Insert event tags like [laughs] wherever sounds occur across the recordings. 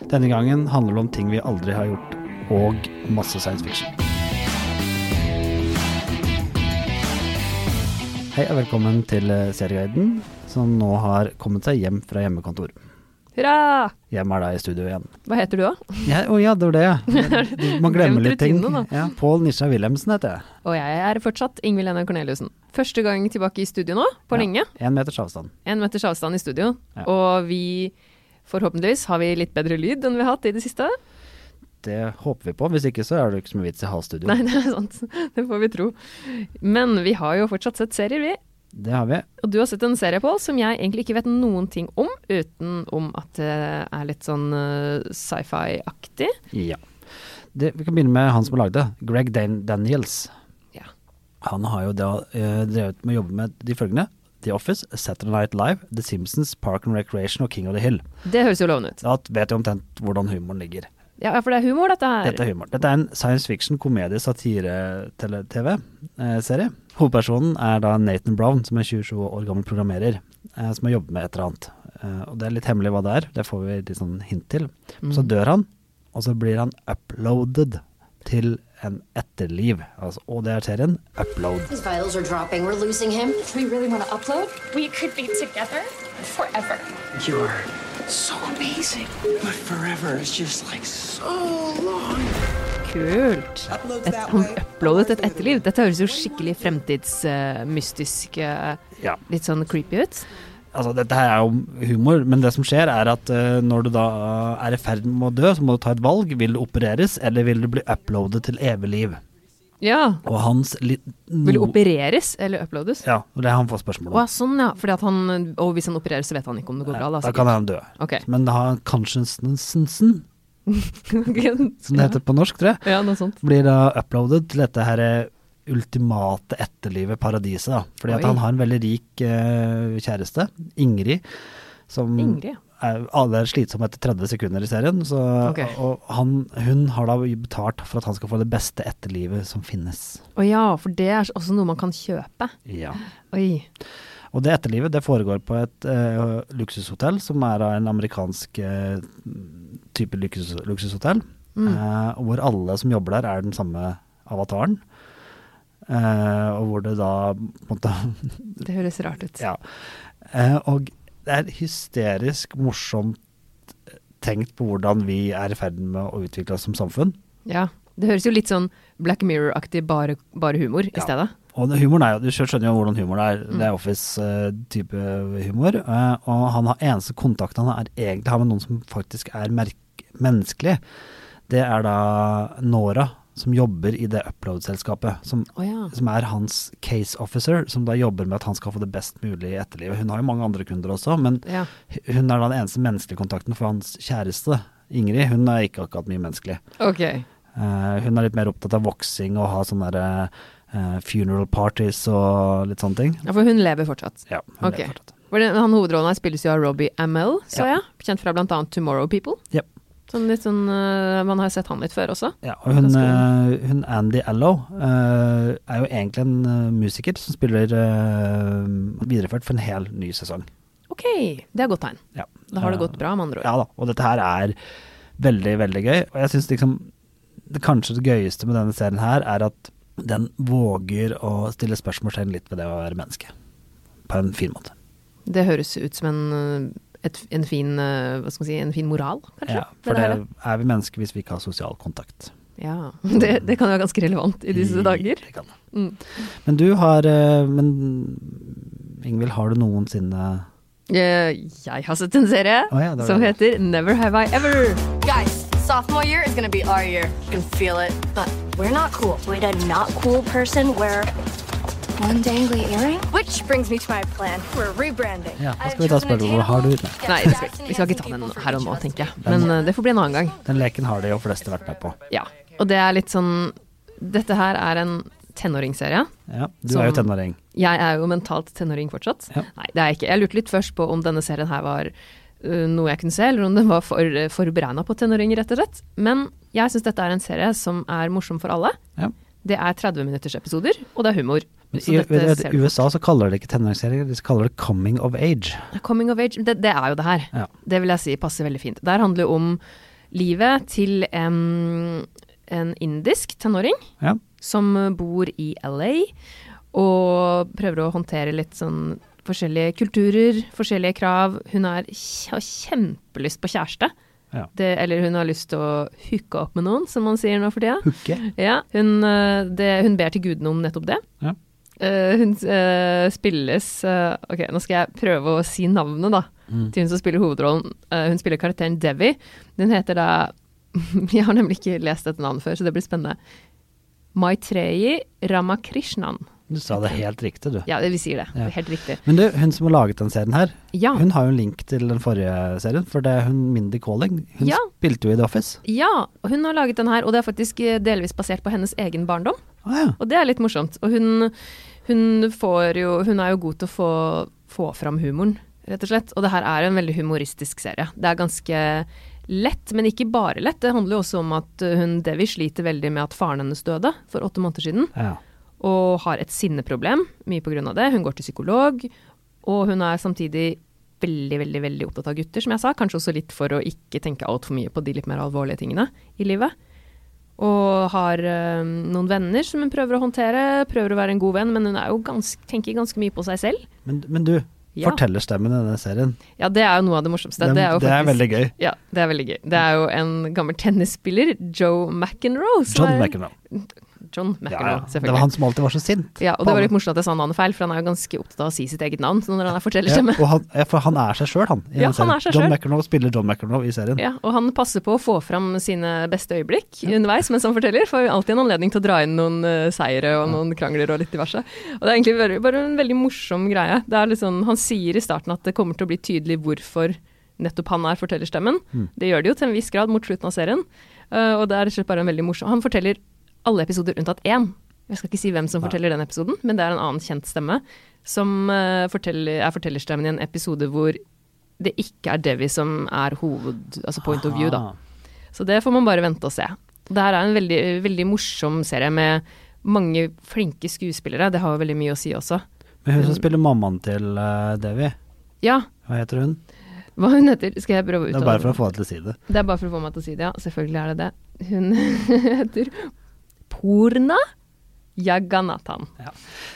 Denne gangen handler det om ting vi aldri har gjort, og masse science fiction. Hei og velkommen til eh, Serieguiden, som nå har kommet seg hjem fra hjemmekontor. Hurra! Hjemme er da i studio igjen. Hva heter du òg? Ja, å ja, det var det, [laughs] ja. Man Glemt glemmer litt ting. rutinene, Ja, Pål Nisja Wilhelmsen heter jeg. Og jeg er fortsatt Ingvild Henne Corneliussen. Første gang tilbake i studio nå, på Ja. lenge. Én meters avstand. En meters avstand i studio. Ja. Og vi, forhåpentligvis, har vi litt bedre lyd enn vi har hatt i det siste. Det håper vi på, hvis ikke så er det jo ikke så mye vits i å ha studio. Nei, [laughs] det er sant. Det får vi tro. Men vi har jo fortsatt sett serier, vi. Det har vi. Og du har sett en serie, Pål, som jeg egentlig ikke vet noen ting om, utenom at det er litt sånn eh, sci-fi-aktig. Ja. Det, vi kan begynne med han som har lagd det, Greg Dan Daniels. Ja. Han har jo da eh, drevet med å jobbe med de følgende. The Office, Saturday Night Live, The Simpsons, Park and Recreation og King of the Hill. Det høres jo lovende ut. Da vet jeg omtrent hvordan humoren ligger. Ja, for det er humor, dette her. Dette er humor. Dette er en science fiction komedie-satire-tv-serie. eh, Hovedpersonen er da Nathan Brown, som er 27 år gammel programmerer, eh, som har jobbet med et eller annet. Eh, og Det er litt hemmelig hva det er, det får vi litt sånn hint til. Så dør han, og så blir han uploaded til en etterliv. Altså, og det er serien Upload. His vitals are dropping. We're losing him. We really want to upload? We could be together forever. You are so amazing. But forever is just like so long. Kult. Et, han uploadet et etterliv. Dette høres jo skikkelig fremtidsmystisk, Ja. litt sånn creepy ut. Altså, dette her er jo humor, men det som skjer er at eh, når du da eh, er i ferd med å dø, så må du ta et valg. Vil du opereres, eller vil du bli uploadet til evig liv? Ja. Og hans li Vil det no- opereres eller uploades? Ja, og det har han fått spørsmål Å ja, om. sånn ja. Fordi at han, og hvis han opereres, så vet han ikke om det går bra. Da, Da kan han dø. Ok. [laughs] Men da har consciousnessen, sikkert. som det heter Mm. på norsk, tror jeg, ja, noe sånt. blir da uploadet til dette her eh, ultimate etterlivet, paradiset. da. Fordi at Oi. han har en veldig rik eh, kjæreste, Ingrid, som Ingrid, ja. er, alle er slitsomme etter 30 sekunder i serien. Så, Ok. Og han, hun har da betalt for at han skal få det beste etterlivet som finnes. Å ja, for det er også noe man kan kjøpe. Ja. Oi. Og det etterlivet det foregår på et eh, luksushotell, som er av en amerikansk eh, type luksus, luksushotell. eh, og hvor alle som jobber der, er den samme avataren. Eh, og hvor det da på en måte Det høres rart ut. Ja. Eh, og det er hysterisk morsomt eh, tenkt på hvordan vi er i ferd med å utvikle oss som samfunn. Ja. Det høres jo litt sånn Black Mirror-aktig bare, bare humor i Ja. stedet. Og det, humoren er jo, Du selv skjønner jo hvordan humoren er. Det er Office-type humor. eh, og han har eneste kontakten han er egentlig har med noen som faktisk er merk menneskelig, det er da Nora, som jobber i det upload-selskapet. Som, Å ja. som er hans case officer, som da jobber med at han skal få det best mulig i etterlivet. Hun har jo mange andre kunder også, men Ja. hun er da den eneste menneskelige kontakten for hans kjæreste, Ingrid. Hun er ikke akkurat mye menneskelig. Ok. Eh, hun er litt mer opptatt av voksing og ha sånne der, eh, funeral parties og litt sånne ting. Ja, for hun lever fortsatt. Ja, hun Ok. lever fortsatt. For den- Han hovedrollen her spilles jo av Robbie Amell, så Ja. jeg. Kjent fra blant annet Tomorrow People. Ja. Sånn litt sånn, øh, man har jo sett han litt før også. Ja, og hun, Ganske eh, hun Andy Allo eh, er jo egentlig en eh, musiker som spiller eh, videreført for en hel ny sesong. Ok, det er godt tegn. Ja. Da har det Eh, gått bra, med andre ord. Ja da, og dette her er veldig, veldig gøy. Og jeg syns liksom det kanskje det gøyeste med denne serien her, er at den våger å stille spørsmålstegn litt ved det å være menneske. På en fin måte. Det høres ut som en, øh, et, en, fin, øh, hva skal man si, en fin moral, kanskje? Ja, for det er vi mennesker hvis vi ikke har sosial kontakt. Ja, [laughs] det, det kan jo være ganske relevant i Mm. disse dager. Mm. Det kan. det. Men du har eh, Men Ingvild, har du noensinne Eh, Jeg har sett en serie Å ja, det var som det. heter Never Have I Ever. Guys, sophomore year is gonna be our year. You can feel it. But we're not cool. Would a not cool person wear one dangly earring? Which brings me to my plan. We're rebranding. Ja, da skal vi ta og spørre hvor har du den? Nei, det skal, vi- vi skal ikke ta den her og nå, tenker jeg. Men øh, det får bli en annen gang. Den leken har de jo fleste vært med på. Ja, og det er litt sånn Dette her er en tenåringsserie. Ja, du Som- er jo tenåring. Jeg er jo mentalt tenåring fortsatt. Ja. Nei, det er jeg ikke. Jeg lurte litt først på om denne serien her var øh, noe jeg kunne se, eller om den var for, uh, forberegna på tenåringer, rett og slett. Men jeg syns dette er en serie som er morsom for alle. Ja. Det er 30 minutters episoder, og det er humor. Så I, dette vet du, ser I du. USA så kaller de det ikke tenåringsserier, de kaller det coming of age. Coming of age, det, det er jo det her. Ja. Det vil jeg si passer veldig fint. Der handler jo om livet til em, en indisk tenåring Ja. som bor i LA og prøver å håndtere litt sånn forskjellige kulturer, forskjellige krav. Hun er, har kjempelyst på kjæreste. Ja. Det, eller hun har lyst til å hooke opp med noen, som man sier nå for tida. Hooke. [laughs] Ja, hun, eh, det, hun ber til gudene om nettopp det. Ja. Eh, hun eh, spilles eh, Ok, nå skal jeg prøve å si navnet, da. Mm. Til hun som spiller hovedrollen. Eh, hun spiller karakteren Devi. Den heter da [laughs] Jeg har nemlig ikke lest dette navnet før, så det blir spennende. Maitreyi Ramakrishnan. Du sa det helt riktig, du. Ja, vi sier det. Ja. Helt riktig. Men du, hun som har laget den serien her, Ja. hun har jo en link til den forrige serien, for det er hun Mindy Calling. Hun Ja. spilte jo i The Office. Ja, hun har laget den her, og det er faktisk eh, delvis basert på hennes egen barndom. Å ja. Og det er litt morsomt. Og hun, hun, får jo, hun er jo god til å få, få fram humoren, rett og slett. Og det her er en veldig humoristisk serie. Det er ganske lett, men ikke bare lett. Det handler jo også om at uh, hun Devi sliter veldig med at faren hennes døde for åtte måneder siden, ja. og har et sinneproblem, mye på grunn av det. Hun går til psykolog, og hun er samtidig veldig, veldig veldig opptatt av gutter, som jeg sa. Kanskje også litt for å ikke tenke altfor mye på de litt mer alvorlige tingene i livet. Og har eh, noen venner som hun prøver å håndtere, prøver å være en god venn, men hun er jo ganske, tenker ganske mye på seg selv. Men, men du, Ja. fortellerstemmen i denne serien, Ja, det er jo noe av det morsomste. den, det er jo faktisk, veldig gøy. Ja, det er veldig gøy. Det er jo en gammel tennisspiller, Joe McEnroe. som John er- McEnroe. John Ja, McEnroe, ja. Det selvfølgelig. var han som alltid var så sint. Ja, og det var litt morsomt at jeg sa navnet feil, for han er jo ganske opptatt av å si sitt eget navn så når han Ja, er fortellerstemme. og han, ja, for han er seg sjøl, han. i Ja, den serien. han er seg John selv. McEnroe spiller John McEnroe i serien. Ja, og han passer på å få fram sine beste øyeblikk underveis mens han forteller, får alltid en anledning til å dra inn noen eh, seire og noen krangler og litt diverse. Og det er egentlig bare, bare en veldig morsom greie. Det er litt sånn, han sier i starten at det kommer til å bli tydelig hvorfor nettopp han er fortellerstemmen. Det gjør det jo til en viss grad mot slutten av serien. Eh, og det er rett og slett bare en veldig morsom Han forteller alle episoder unntatt én. Jeg skal ikke si hvem som forteller den episoden, men det er en annen kjent stemme som eh, forteller, er fortellerstemmen i en episode hvor det ikke er Devi som er hoved... Altså point of view, da. Ah. Så det får man bare vente og se. Det her er en veldig, veldig morsom serie med mange flinke skuespillere. Det har jo veldig mye å si også. Men Mm. hun som spiller mammaen til eh, Devi, Ja, hva heter hun? hva hun heter? Skal jeg prøve å Det er uttale bare for å få deg til å si det. Det er bare for å få meg til å si det, ja. Selvfølgelig er det det. Hun [laughs] heter Porna Yaganathan.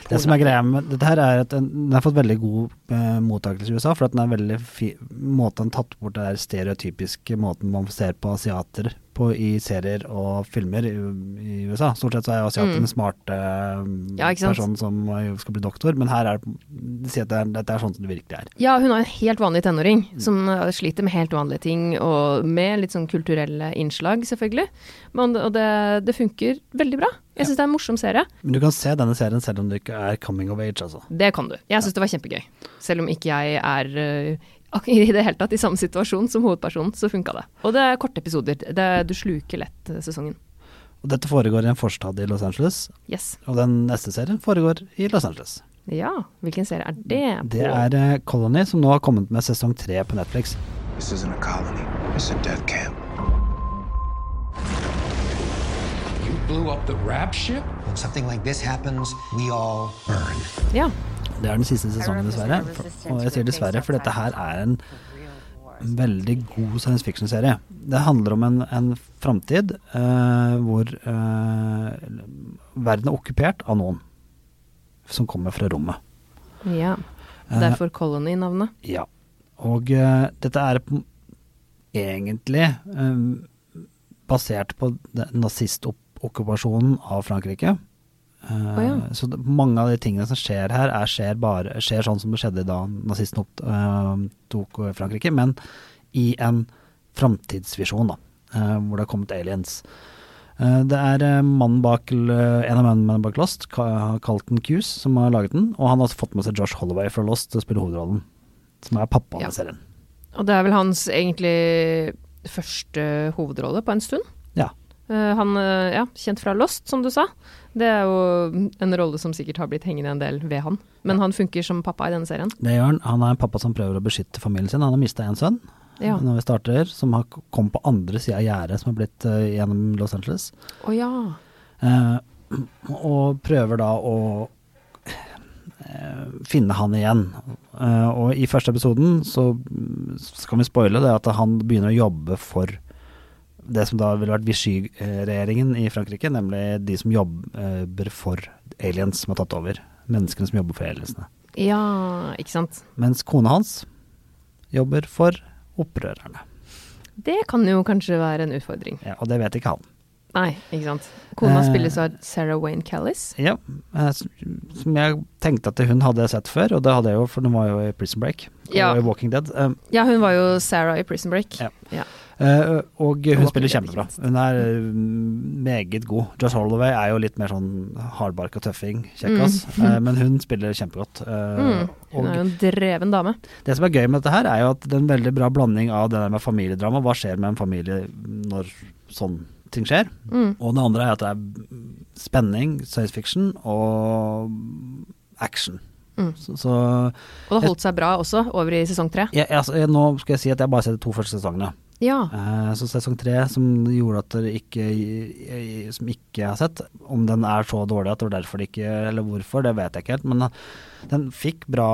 Det som er greia med dette her er at den, den har fått veldig god eh, mottakelse i USA, for at den er veldig fi, måten den tatt bort det der stereotypiske måten man ser på asiater på i serier og filmer i, i USA. Stort sett så er jo asiater den smarte eh, Mm. Ja, ikke sant? personen som eh, skal bli doktor, men her er det, de sier at det er, dette er sånn som det virkelig er. Ja, hun er en helt vanlig tenåring som eh, sliter med helt vanlige ting, og med litt sånn kulturelle innslag, selvfølgelig. Men, og det, det funker veldig bra. Jeg syns det er en morsom serie. Men du kan se denne serien selv om du ikke er coming of age, altså. Det kan du. Jeg syns det var kjempegøy. Selv om ikke jeg er øh, ak- [laughs] i det hele tatt i samme situasjon som hovedpersonen, så funka det. Og det er korte episoder. Det, du sluker lett øh, sesongen. Og dette foregår i en forstad i Los Angeles, Yes. og den neste serien foregår i Los Angeles. Ja, hvilken serie er det? Det på? er eh, Colony, som nå har kommet med sesong tre på Netflix. This isn't a colony, it's a death camp. You blew up the rap ship? When something like this happens, we all burn. Ja. Det er den siste sesongen, dessverre. For- Og jeg sier dessverre, for dette her er en veldig god science fiction-serie. Det handler om en, en framtid eh, hvor eh, verden er okkupert av noen som kommer fra rommet. ja. Derfor Colony-navnet. Ja. Og eh, dette er på- egentlig eh, basert på den nazistokkupasjonen av Frankrike. Eh, ja. Så det, mange av de tingene som skjer her, er, skjer, bare, skjer sånn som det skjedde da nazistene opp- eh, tok over Frankrike, men i en framtidsvisjon, da, eh, hvor det har kommet aliens. Eh, Det er eh, mannen bak, l- en av mennene bak Lost, Ka- Carlton Cuse, som har laget den. Og han har også fått med seg Josh Holloway fra Lost til å spille hovedrollen. Som er pappaen Ja. i serien. Og det er vel hans egentlig første hovedrolle på en stund. Ja. Eh, Han, eh, ja, kjent fra Lost, som du sa. Det er jo en rolle som sikkert har blitt hengende en del ved han. Men han funker som pappa i denne serien. Det gjør han. Han er en pappa som prøver å beskytte familien sin. Han har mista en sønn Ja. når vi starter, som har k- kommet på andre sida av gjerdet som har blitt eh, gjennom Los Angeles. Å ja. Eh, og prøver da å eh, finne han igjen. Eh, og i første episoden så mm, skal vi spoile det at han begynner å jobbe for det som da ville vært Vichy-regjeringen i Frankrike, nemlig de som jobber eh, for aliens som har tatt over. Menneskene som jobber for aliensene. Ja, ikke sant. Mens kona hans jobber for opprørerne. Det kan jo kanskje være en utfordring. Ja, og det vet ikke han. Nei, ikke sant. Kona Eh. spilles av Sarah Wayne Callis. Ja, eh, s- som jeg tenkte at hun hadde sett før, og det hadde jeg jo, for hun var jo i Prison Break og Ja. i Walking Dead. Eh, Ja, hun var jo Sarah i Prison Break. Ja. Ja. eh, og hun Walking spiller Dead, kjempebra. ikke minst. Hun er eh, meget god. Joss Holloway er jo litt mer sånn hardbarka tøffing, kjekkas, eh, men hun spiller kjempegodt. Eh, Mm. Hun og er jo en dreven dame. Det som er gøy med dette her, er jo at det er en veldig bra blanding av det der med familiedrama. Hva skjer med en familie når sånn ting skjer? Og det andre er at det er spenning, science fiction og action. Så, så Og det holdt seg bra også, over i sesong tre. jeg, jeg, altså, jeg, nå skal jeg si at jeg bare har sett de to første sesongene. Ja. Eh, så sesong tre, som gjorde at dere ikke Som ikke jeg har sett, om den er så dårlig at det var derfor det ikke Eller hvorfor, det vet jeg ikke helt, men eh, den fikk bra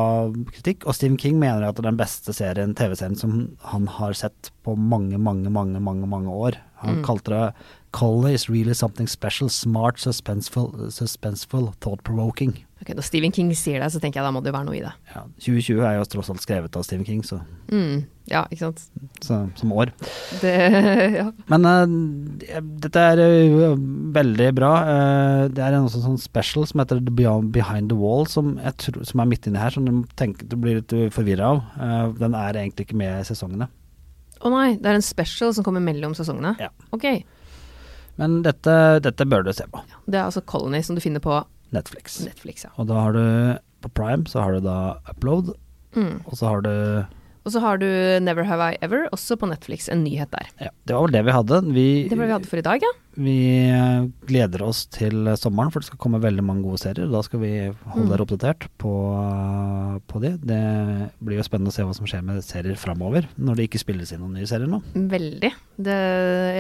kritikk. Og Stephen King mener at det er den beste serien, TV-serien som han har sett på mange, mange, mange mange, mange år. Han kalte det 'Color is really something special, smart, suspenseful, suspenseful thought-provoking'. Ok, Når Stephen King sier det, så tenker jeg da må det jo være noe i det. Ja, 2020 er jo tross alt skrevet av Stephen King, så, Mm. Ja, ikke sant. så, som år. Det, [laughs] ja. Men eh, dette er eh, veldig bra. Eh, det er en også sånn special som heter The Beyond, Behind the Wall, som, jeg tror, som er midt inni her, som du, tenker, du blir litt forvirra av. Eh, den er egentlig ikke med i sesongene. Å nei, det er en special som kommer mellom sesongene. Ja. Ok. Men dette, dette bør du se på. Det er altså Colony som du finner på Netflix. Netflix, ja. Og da har du på Prime så har du da Upload, Mm. og så har du Og så har du Never Have I Ever, også på Netflix, en nyhet der. ja, Det var vel det vi hadde. Vi, Det var det vi hadde for i dag, ja. vi eh, gleder oss til sommeren, for det skal komme veldig mange gode serier. Da skal vi holde Mm. dere oppdatert på, på de. Det blir jo spennende å se hva som skjer med serier framover, når det ikke spilles inn noen nye serier nå. Veldig. Det,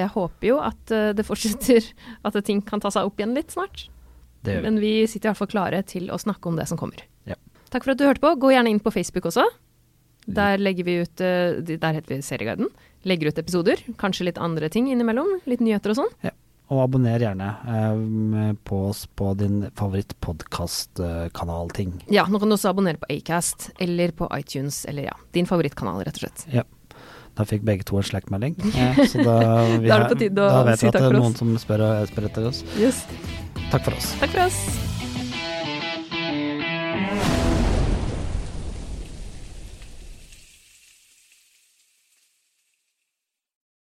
jeg håper jo at eh, det fortsetter, [laughs] at ting kan ta seg opp igjen litt snart. Det gjør vi. Men vi sitter i hvert fall klare til å snakke om det som kommer. Ja. Mm. Takk for at du hørte på. Gå gjerne inn på Facebook også. Der legger vi ut eh, de- Der heter vi Serieguiden. Legger ut episoder. Kanskje litt andre ting innimellom. Litt nyheter og sånn. Ja. Og abonner gjerne eh, på oss på din favorittpodkastkanal-ting. Ja, nå kan du også abonnere på Acast eller på iTunes eller ja, din favorittkanal, rett og slett. Ja. Da fikk begge to en [laughs] Slack-melding. Eh, Så da, vi har- Da er det på tide å da vet si vi at takk det er for oss. noen som spør, spør etter oss. Yes. Takk for oss. Takk for oss.